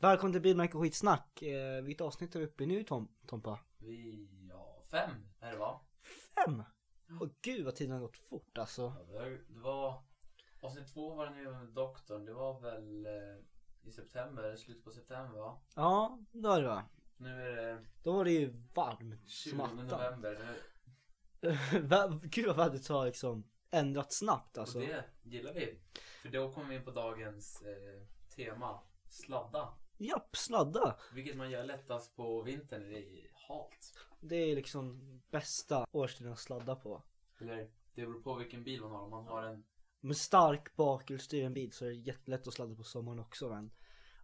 Välkommen till Bilmärke och Skitsnack. Eh, vilket avsnitt är vi uppe i nu Tom, Tompa? Vi, ja, fem är det va? Fem! Mm. Åh gud vad tiden har gått fort alltså. Ja, det var- Det var, avsnitt två var det nu med doktorn. Det var väl eh, i september, slutet på september va? Ja, då är det va. Nu är det Då var det ju varmt 20 som attan. november. Nu, Va- Gud vad vädret har liksom ändrats snabbt alltså. Och det gillar vi. För då kommer vi in på dagens eh, tema, sladda. Japp, sladda. Vilket man gör lättast på vintern när det är halt. Det är liksom bästa årstiden att sladda på. Eller det beror på vilken bil man har. Om man har en Med stark bakhjulsdriven bil så är det jättelätt att sladda på sommaren också men.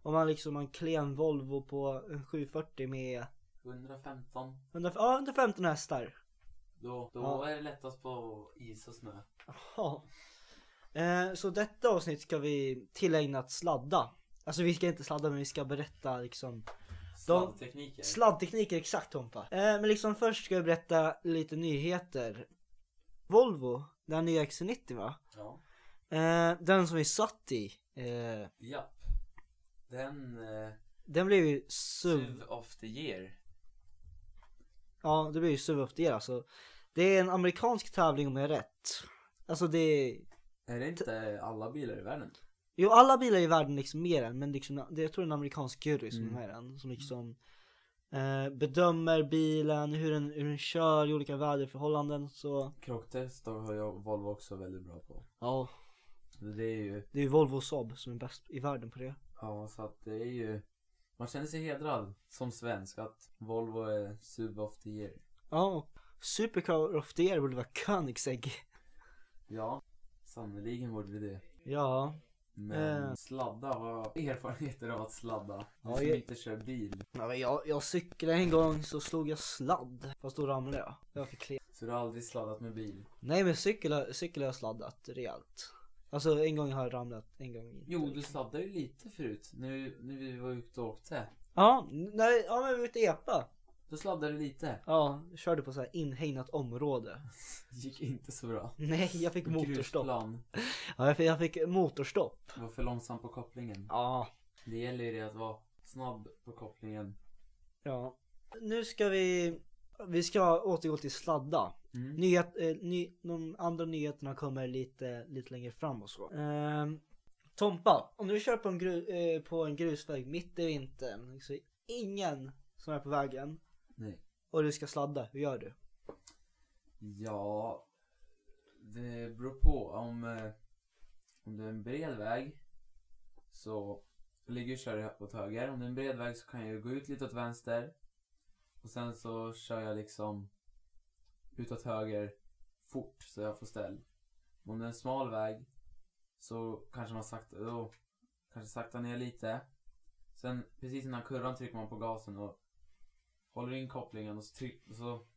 Om man liksom har en klen Volvo på en 740 med 115 100, ja, 115 hästar. då, då Ja. är det lättast på is och snö. Ja. Eh, så detta avsnitt ska vi tillägna att sladda. Alltså vi ska inte sladda men vi ska berätta liksom Sladdtekniker. sladdtekniker exakt Tompa. Eh, men liksom först ska vi berätta lite nyheter. Volvo, den nya XC90 va? ja. Eh, den som vi satt i. Eh, Japp. Den... Eh, den blev ju SUV. SUV of the year. Ja det blev ju SUV upp det alltså. Det är en amerikansk tävling om jag är rätt. Alltså det är Är det inte alla bilar i världen? Jo alla bilar i världen liksom mer än men liksom, det, jag tror det är en amerikansk jury som Mm. är den som liksom eh, bedömer bilen, hur den, hur den kör i olika väderförhållanden så Krocktest har jag Volvo också väldigt bra på. ja Det är ju... det är ju Volvo och Saab som är bäst i världen på det. Ja, så att det är ju... Man känner sig hedrad som svensk att Volvo är SUV of the year. Ja och Supercar of the year borde vara Koenigsegg. Ja, sannerligen borde vi det. Ja, Men Eh. sladda, vad erfarenheter av att sladda? Du Ja, som jag- inte kör bil. ja men jag, jag cyklade en gång så slog jag sladd fast då ramlade jag. Jag fick klen. Så du har aldrig sladdat med bil? Nej men cykel, har- cykel har jag sladdat rejält. Alltså en gång har jag ramlat, en gång inte. Jo, du sladdade ju lite förut. Nu, nu vi var ute och åkte. Ja, nej, ja men vi var ute och epa. Då sladdade du lite. Ja, körde på så här inhägnat område. Det gick inte så bra. Nej, jag fick motorstopp. Grusplan. Ja, jag fick, jag fick motorstopp. Du var för långsam på kopplingen. Ja. Det gäller ju det att vara snabb på kopplingen. ja. Nu ska vi, vi ska återgå till sladda. Mm. Nyhet, eh, ny, de andra nyheterna kommer lite, lite längre fram och så. Ehm, Tompa, om du kör på en, gru, eh, på en grusväg mitt i vintern så är ingen som är på vägen Nej. och du ska sladda, hur gör du? Ja, det beror på. Om, eh, om det är en bred väg så ligger jag och kör åt höger. Om det är en bred väg så kan jag ju gå ut lite åt vänster. Och sen så kör jag liksom utåt höger fort så jag får ställ. Om det är en smal väg så kanske man sakta, då, kanske sakta ner lite. Sen precis innan kurvan trycker man på gasen och håller in kopplingen och så, tryck, och så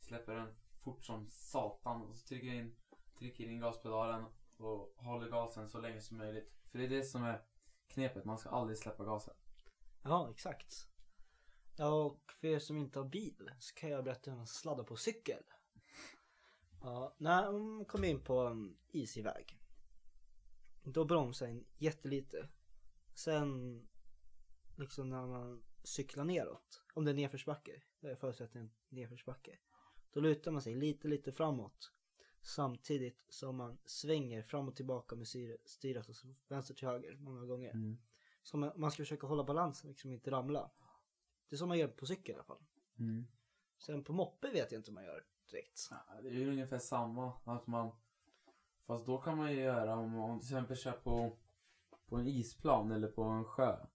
släpper den fort som satan och så trycker jag in, trycker in gaspedalen och håller gasen så länge som möjligt. För det är det som är knepet, man ska aldrig släppa gasen. Ja, exakt. Ja, och för er som inte har bil så kan jag berätta hur man sladdar på cykel. Ja, när man kommer in på en isig väg. Då bromsar en jättelite. Sen liksom när man cyklar neråt. Om det är nedförsbacke. Det är förutsättningen nedförsbacke. Då lutar man sig lite, lite framåt. Samtidigt som man svänger fram och tillbaka med syre- styret, alltså vänster till höger många gånger. Så man, man ska försöka hålla balansen, liksom inte ramla. Det är som man gör på cykel i alla fall. Sen på moppe vet jag inte hur man gör direkt. Ja, Det är ju ungefär samma. Att man, fast då kan man ju göra om man till exempel kör på, på en isplan eller på en sjö.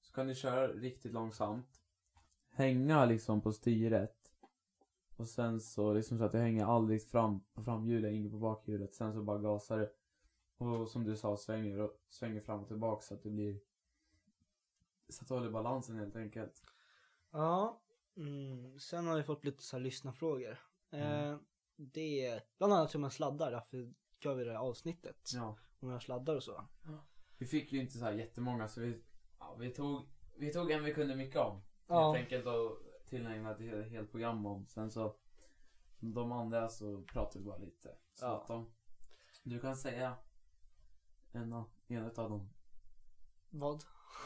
Så kan du köra riktigt långsamt. Hänga liksom på styret. Och sen så liksom så att du hänger aldrig fram på framhjulet, inte på bakhjulet. Sen så bara gasar du. Och som du sa, svänger och svänger fram och tillbaka så att det blir... Så att du håller balansen helt enkelt. Ja. Mm. Sen har vi fått lite så här lyssnarfrågor. Eh, Mm. det är bland annat hur man sladdar, därför gör vi det här avsnittet. Ja. Om man sladdar och så. Vi fick ju inte så här jättemånga så vi, ja, vi, tog, vi tog en vi kunde mycket om. Ja. Helt enkelt och tillägnade ett helt- helt program om. Sen så de andra så pratade vi bara lite. Så Ja. att de, du kan säga en, av- en av dem. Vad?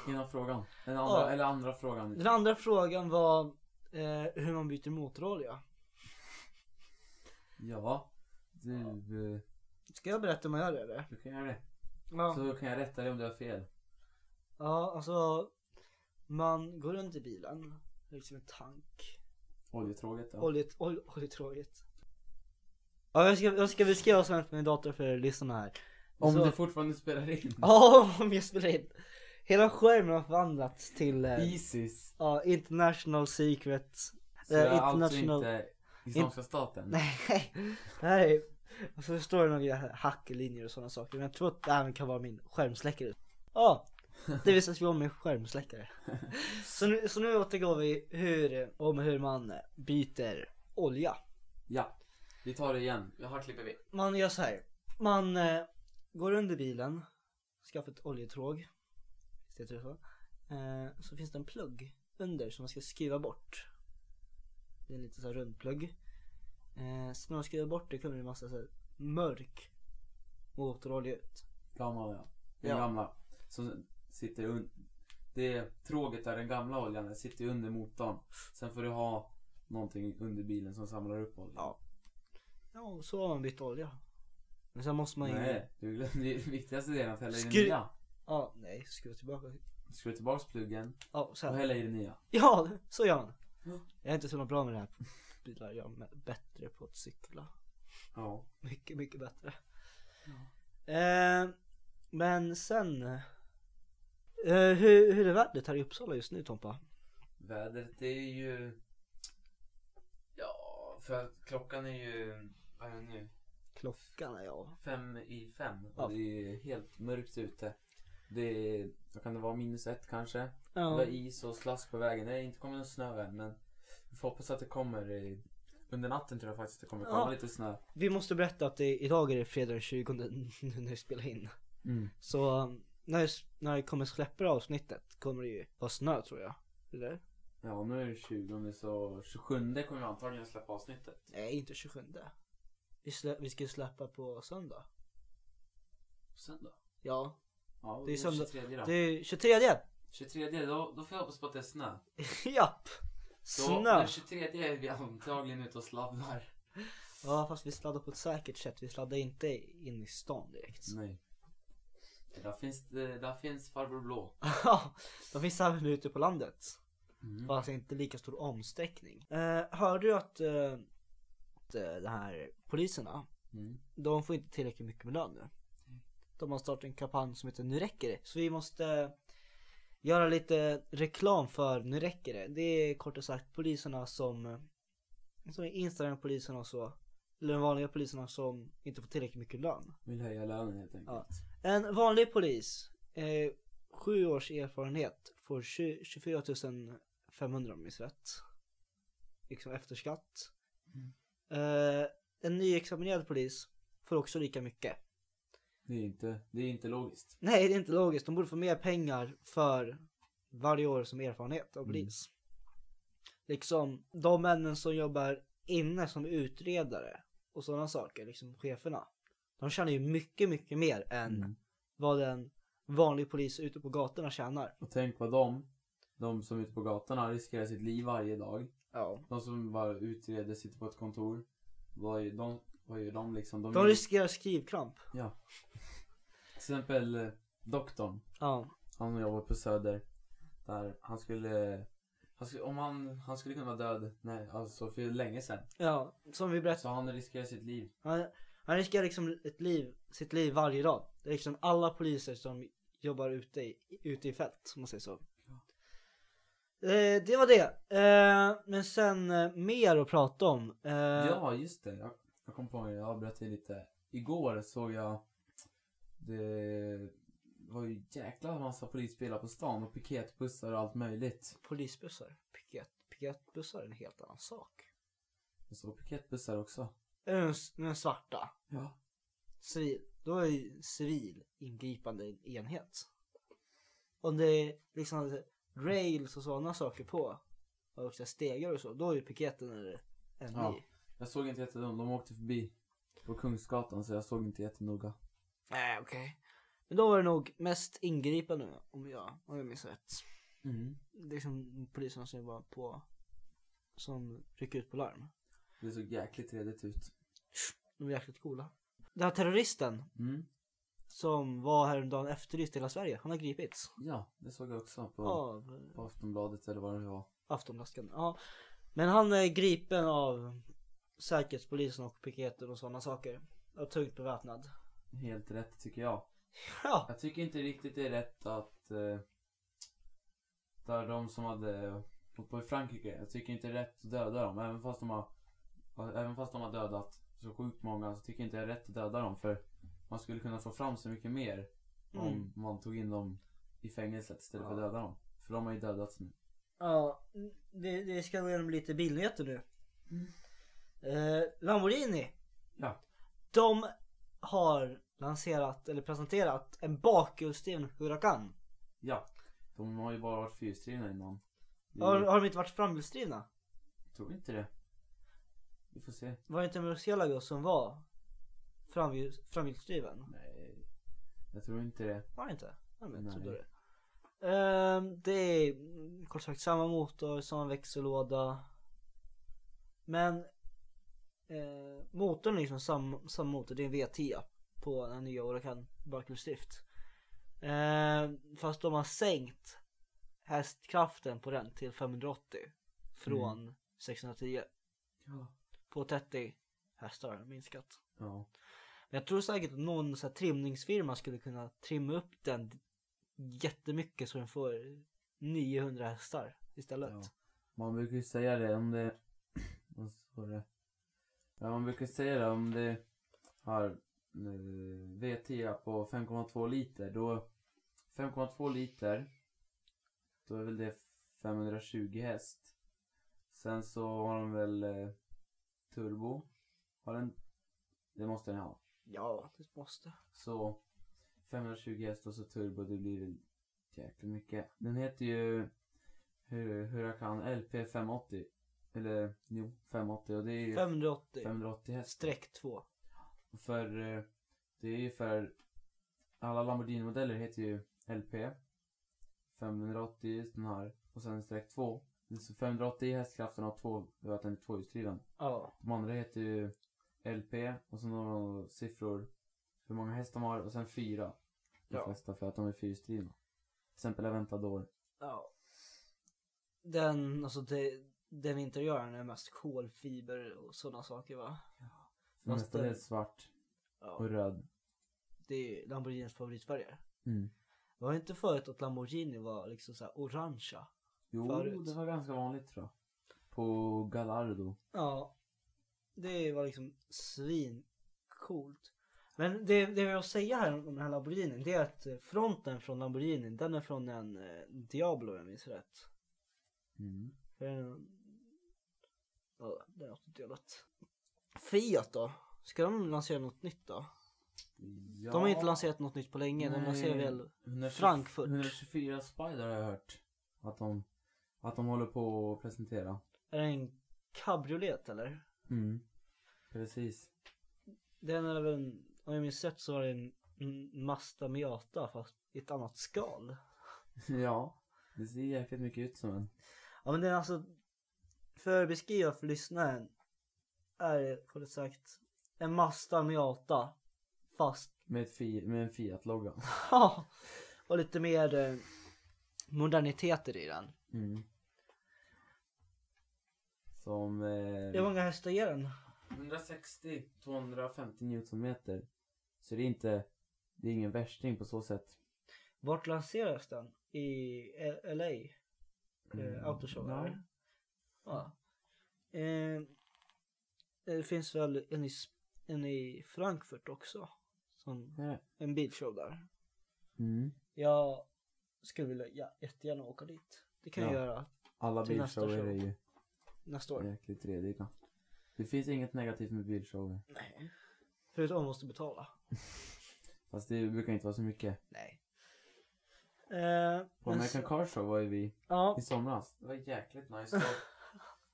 Ena frågan. Den andra, Ja. Eller andra frågan. Den andra frågan var eh, hur man byter motorolja. Ja. Du, eh, Ska jag berätta hur man gör det eller? du kan göra det. Ja. Så kan jag rätta dig om du har fel. ja, alltså. Man går runt i bilen. Liksom en tank. Oljetråget då. Oljet, ol, oljetråget. Ja, jag ska, jag ska beskriva vad som hänt med min dator för lyssnarna här. Om Så- du fortfarande spelar in. Ja, om jag spelar in. Hela skärmen har förvandlats till eh, Isis. ja, International Secret. Så det är international- alltså inte Islamiska staten. Nej, det här är... Och så står det några hacklinjer och sådana saker. Men jag tror att det här kan vara min skärmsläckare. Ja, det visar sig om min skärmsläckare. Så nu, så nu återgår vi hur, om hur man byter olja. Ja. Vi tar det igen. Jag har klipper vi. Man gör så här. Man eh, går under bilen, skaffar ett oljetråg. Visst heter det så? Eh, så finns det en plugg under som man ska skruva bort. Det är en liten så här rund plugg. Eh, så när man skruvar bort det kommer det en massa så här mörk motorolja ut. Gammal ja. Den Ja. gamla. Som sitter un- Det är tråget där den gamla oljan den sitter ju under motorn. Sen får du ha någonting under bilen som samlar upp oljan. Ja. Ja, och så har man bytt olja. Men sen måste man ju... Nej, du glömde ju den viktigaste delen att hälla i Skru- det nya. Ja, nej, skruva tillbaka. Skruva tillbaks pluggen Ja, och sen. hälla i det nya. Ja, så gör man. Ja. Jag är inte så bra med det här på bilar. Jag är bättre på att cykla. Ja. Mycket, mycket bättre. Eh, men sen. Eh, hur, hur är vädret här i Uppsala just nu Tompa? Vädret är ju... Ja, för att klockan är ju... Vad är det nu? Klockan är jag. Fem i fem. Och Ja. det är helt mörkt ute. Det är... Vad kan det vara? Minus ett kanske? Det Ja. var is och slask på vägen. Det har inte kommit någon snö än men vi får hoppas att det kommer. eh, Under natten tror jag faktiskt det kommer komma Ja. lite snö. Vi måste berätta att det, idag är det fredag den 20 nu när vi spelar in. Så um, när, jag s- när jag kommer släppa det här avsnittet kommer det ju vara snö tror jag. Eller? Ja nu är det 20 så 27 kommer vi antagligen släppa avsnittet. Nej, inte 27. Vi, slä, vi ska ju släppa på söndag. Söndag? Ja, Ja, och Det är söndag. 23 då. det är 23. 23 då, då får jag hoppas på att det är snö. Japp! Så Snö! den 23 är vi antagligen ute och sladdar. Ja fast vi sladdar på ett säkert sätt. Vi sladdar inte in i stan direkt. Nej. Där finns, det, där finns farbror blå. Ja, de finns även ute på landet. Mm. Fast inte lika stor omsträckning. Eh, hörde du att eh, att, eh, de här poliserna, Mm. de får inte tillräckligt mycket med lön nu. De har startat en kampanj som heter Nu räcker det. Så vi måste eh, göra lite reklam för Nu räcker det. Det är kort och sagt poliserna som, eh, som är Instagram-poliserna och så. Eller de vanliga poliserna som inte får tillräckligt mycket lön. Vill höja lönen helt enkelt. Ja. En vanlig polis, eh, sju års erfarenhet, får 20, 24 500 om jag minns rätt. Liksom efter skatt. Mm. Eh, en nyexaminerad polis får också lika mycket. Det, är inte, det är inte logiskt. Nej, det är inte logiskt. De borde få mer pengar för varje år som erfarenhet av polis. Liksom, de männen som jobbar inne som utredare och sådana saker, liksom cheferna. De tjänar ju mycket, mycket mer än vad en vanlig polis ute på gatorna tjänar. Och tänk vad de, de som är ute på gatorna riskerar sitt liv varje dag. Ja. De som bara utreder, sitter på ett kontor. Vad gör de? Vad gör de liksom? De, De är- riskerar skrivkramp. Ja. Till exempel eh, doktorn. Ja. Han som jobbar på Söder. Där han skulle... Han skulle om han, han skulle kunna vara död nej, alltså för länge sedan. Ja, som vi berättade. Så han riskerar sitt liv. Han, han riskerar liksom ett liv, sitt liv varje dag. Det är liksom alla poliser som jobbar ute i, ute i fält, om man säger så. Eh, det var det. Eh, men sen eh, mer att prata om. Eh, Ja, just det. Jag, jag kom på det. Jag avbröt dig lite. Igår såg jag... Det var ju jäkla massa polisbilar på stan och piketbussar och allt möjligt. Polisbussar. Piket, piketbussar är en helt annan sak. Det står piketbussar också. Den, den svarta. Ja. civil, då är ju civil ingripande en enhet. Om det är liksom rails och sådana saker på och också stegar och så, då är ju piketen en- en Ja. ny. Jag såg inte jättenoga. De åkte förbi på Kungsgatan så jag såg inte jättenoga. Nej okej. Men då var det nog mest ingripande om jag, om jag minns rätt. Mm. Det är liksom polisen som var på, som rycker ut på larm. Det såg jäkligt redigt ut. De är jäkligt coola. Den här terroristen Mm. som var häromdagen efterlyst i hela Sverige, han har gripits. Ja, det såg jag också på, Av på Aftonbladet eller vad det var. Aftonblaskan. Ja. Men han är gripen av Säkerhetspolisen och piketen och sådana saker. Och tungt beväpnad. Helt rätt tycker jag. Ja. Jag tycker inte riktigt det är rätt att... Eh, där de som hade fått på i Frankrike. Jag tycker inte det är rätt att döda dem. Även fast de har, även fast de har dödat så sjukt många så tycker jag inte det är rätt att döda dem. För man skulle kunna få fram så mycket mer Mm. om man tog in dem i fängelset istället för att Ja. döda dem. För de har ju dödats nu. ja. Vi, vi ska gå igenom lite bilnyheter nu. Eh, Lamborghini. Ja. De har lanserat eller presenterat en bakhjulsdriven Huracan. Ja. De har ju bara varit fyrhjulsdrivna innan. Vi Har, har de inte varit framhjulsdrivna? tror inte det. Vi får se. Var det inte Murcielago som var framhjuls, framhjulsdriven? Nej. Jag tror inte det. Var det inte? Jag vet, Nej. trodde det. Ehm, det är mm, kort sagt samma motor, samma växellåda. Men eh, motorn är liksom samma, samma motor. Det är en V10 på den här nya Oracan bakhjulsdrift. Ehm, fast de har sänkt hästkraften på den till 580 från 610. Ja. På 30 hästar har den minskat. Ja. Men jag tror säkert att någon så här trimningsfirma skulle kunna trimma upp den jättemycket så den får 900 hästar istället. Ja. Man brukar ju säga det om det... Vad står det? Ja, man brukar säga det om det har eh, V10 på 5,2 liter. Då 5,2 liter, då är väl det 520 häst. Sen så har de väl eh, turbo. Har den? Det måste den ha. Ja, det måste. Så 520 häst och så turbo, det blir väl jäkligt mycket. Den heter ju Hur- Huracan LP580. Eller jo, 580 och det är ju 580 580 häst. streck 2. Och För eh, det är ju för alla Lamborghini-modeller heter ju LP 580 den här och sen streck 2. Så 580 hästkraften och 2, det var att den är tvåhjulsdriven. Ja. De andra heter ju LP och sen några siffror hur många hästar de har och sen fyra. De Ja. flesta för att de är fyrhjulsdrivna. Till exempel Aventador. ja. Den, alltså det, den interiören är mest kolfiber och sådana saker va? Den Fast mesta den- är svart och Ja. röd. Det är Lamborghinis favoritfärger. Mm. Var det inte förut att Lamborghini var liksom så här orangea? Jo, Förut. det var ganska vanligt tror jag. På Gallardo. Ja. Det var liksom svincoolt. Men det, det jag vill säga här om den här Lamborghinin det är att eh, fronten från Lamborghinin den är från en eh, Diablo om jag minns rätt. Mm. För den, ja, det är något delat. Fiat då? Ska de lansera något nytt då? Ja, De har inte lanserat något nytt på länge. De Nej. lanserar väl 120 Frankfurt. 124 Spider har jag hört. Att de, att de håller på att presentera. Är det en cabriolet eller? Mm. Precis. Den är väl en, om jag minns rätt så var det en en Mazda Miata fast i ett annat skal. ja. Det ser jäkligt mycket ut som en. Ja men den är alltså, för att beskriva för lyssnaren är det kort sagt en Mazda Miata fast Med, ett fi, med en Fiat-logga. ja, och lite mer eh, moderniteter i den. Mm. Som... Eh, Hur många hästar ger den? 160-250 newtonmeter. Så det är inte... Det är ingen värsting på så sätt. Vart lanseras den? I L- LA? Mm. Eh, Autoshow? ja. eller? Ja. Eh, det finns väl en i, Sp- en i Frankfurt också? Som det är det. en bilshow där. Mm. Jag skulle vilja ja, jättegärna åka dit. Det kan jag Ja. Mm. göra Alla Till nästa bilshower show. är ju nästa år. jäkligt rediga. Det finns inget negativt med bilshower. Nej. Förutom att man måste betala. Fast det brukar inte vara så mycket. Nej. Eh, På men American så- Car Show var ju vi ja. i somras. Det var jäkligt nice. Det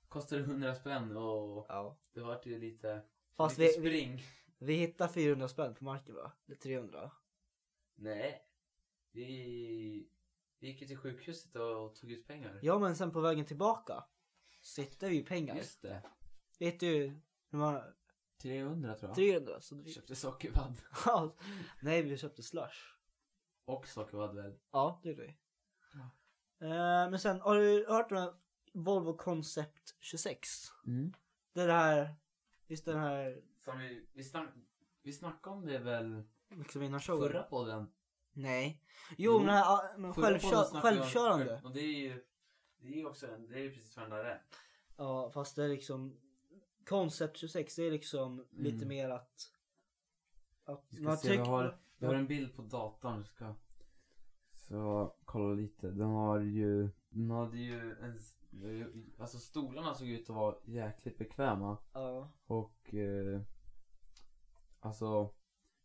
kostade 100 spänn och ja. det var ju lite, Fast lite vi, vi, spring. vi hittar 400 spänn på marken va? Eller 300. Nej. Vi, vi gick ju till sjukhuset och tog ut pengar. Ja men sen på vägen tillbaka. Så hittade vi ju pengar. Just det. Vet du, när man 300 tror jag. 300 så... Vi köpte sockervadd. Ja, Nej vi köpte slush. Och sockervadd väl. Ja det gjorde vi. Ja. Eh, men sen har du hört om den här Volvo Concept 26? Mm. Det är det här, visst den här Som vi, vi, snack, vi snackade om det väl liksom innan showen? förra podden. Nej. Jo. Jo, men, den här, ah, men Förra podden självkör, snackade vi om- självkörande. Och det är ju det är ju också en, det är ju precis vad den där är. Ja fast det är liksom Concept 26 det är liksom lite mer att... att Vi ska se, jag har, jag har en bild på datorn. vi Ska, så kolla lite. Den har ju, den hade ju en, alltså stolarna såg ut att vara jäkligt bekväma. Ja. Och eh, alltså,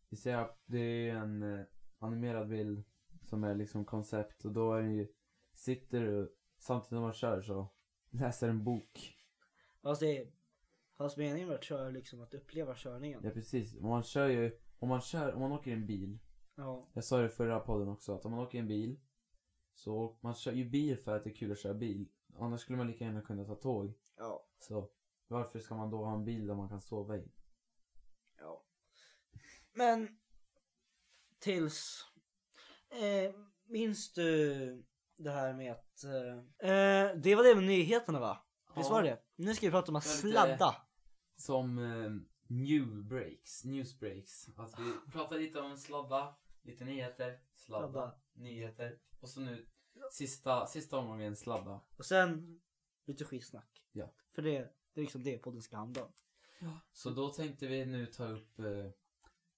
vi ser att det är ju en eh, animerad bild som är liksom koncept och då är det ju, sitter du samtidigt som man kör så läser en bok. Fast det är... Fast meningen med att köra är liksom att uppleva körningen. Ja precis, Och man kör ju, om man kör, om man åker i en bil Ja. Jag sa det i förra podden också, att om man åker i en bil så man kör ju bil för att det är kul att köra bil. Annars skulle man lika gärna kunna ta tåg. Ja. Så varför ska man då ha en bil där man kan sova i? Ja. Men... Tills... Eh, minns du det här med att... Eh, eh, det var det med nyheterna va? Visst var det Nu ska vi prata om att Det var lite- sladda. Som eh, new breaks, news breaks. Att vi pratar lite om sladda, lite nyheter, sladda, Sladda. nyheter. Och så nu sista, sista omgången sladda. Och sen lite skitsnack. Ja. För det, det är liksom det podden ska handla om. Så då tänkte vi nu ta upp eh,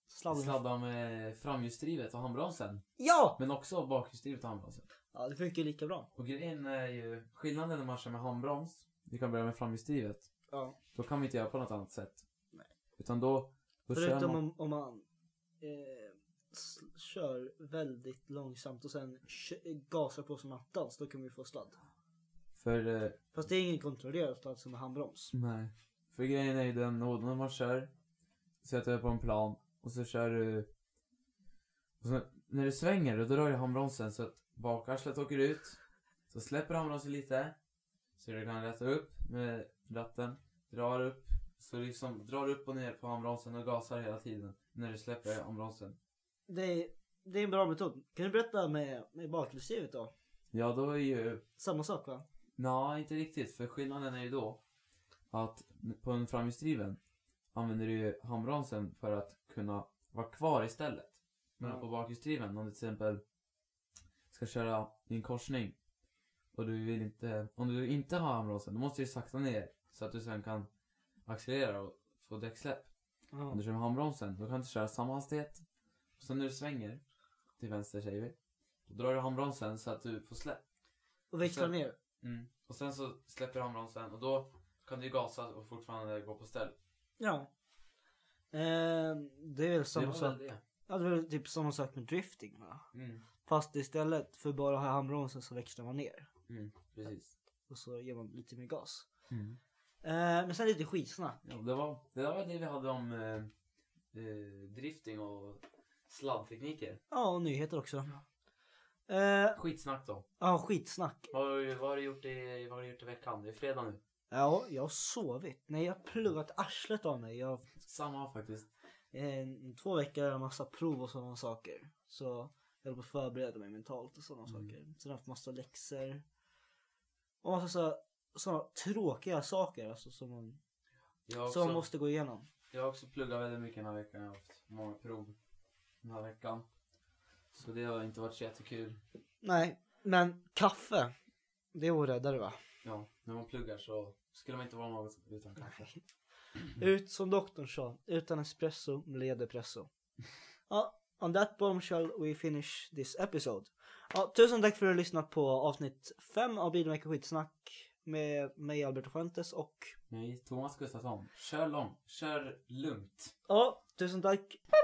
Sladda. sladda med framhjulsdrivet och handbromsen. Ja! Men också bakhjulsdrivet och handbromsen. Ja det funkar ju lika bra. Och grejen är ju, skillnaden när man kör med handbroms, vi kan börja med framhjulsdrivet, Ja. då kan vi inte göra på något annat sätt. Utan då, då kör Förutom man... om, om man eh, s- kör väldigt långsamt och sen kö- gasar på som attans. Då kan man ju få sladd. För, eh, Fast det är ingen kontrollerad sladd som är handbroms. nej. för grejen är ju den, och när man kör, sätter du på en plan och så kör du... Och så, när du svänger, då drar du handbromsen så att bakarslet åker ut. Så släpper du handbromsen lite, så du kan rätta upp med ratten. Drar upp, så liksom drar upp och ner på handbromsen och gasar hela tiden när du släpper handbromsen. Det är, det är en bra metod. Kan du berätta med, med bakhjulsdrivet då? Ja, då är ju... Samma sak va? Nej, inte riktigt. För skillnaden är ju då att på en framhjulsdriven använder du ju handbromsen för att kunna vara kvar istället. Men Ja. på bakhjulsdriven, om du till exempel ska köra i en korsning och du vill inte... Om du inte har handbromsen, då måste du sakta ner så att du sen kan accelerera och få däcksläpp. Om du kör med handbromsen, då kan du köra samma hastighet. Och sen när du svänger till vänster säger vi, då drar du handbromsen så att du får släpp. Och växla Sen- ner. Mm. Och sen så släpper du handbromsen och då kan du ju gasa och fortfarande gå på ställ. Ja. Eh, det är väl Det samma var sak. väl det. Ja, det är väl typ samma sak med drifting va? Mm. Fast istället för bara att ha handbromsen så växlar man ner. Mm. Precis. Och så ger man lite mer gas. Eh, men sen lite skitsnack. Ja, det, var, det där var det vi hade om eh, eh, drifting och sladdtekniker. Ja och nyheter också. Eh, Skitsnack då. ja skitsnack. Vad har, du- vad, har du gjort i, vad har du gjort i veckan? Det är fredag nu. Ja jag har sovit. Nej jag har pluggat arslet av mig. Jag har Samma faktiskt. eh, två veckor en massa prov och sådana saker. Så jag håller på att förbereda mig mentalt och sådana Mm. saker. Sen har jag haft massa läxor. Och massa så, sådana tråkiga saker alltså som man, Jag har som man också, måste gå igenom. jag har också pluggat väldigt mycket den här veckan. Jag har haft många prov den här veckan. Så det har inte varit så jättekul. Nej men kaffe. Det är vår räddare va? Ja, när man pluggar så skulle man inte vara något utan kaffe. Ut som doktorn sa, utan espresso blir depresso. Ja, on that bombshell we finish this episode. Ja, tusen tack för att du har lyssnat på avsnitt 5 av Bilmärke Skitsnack med mig Alberto Fuentes och Nej, Thomas Gustafsson. Kör långt. Kör lugnt. ja, tusen tack.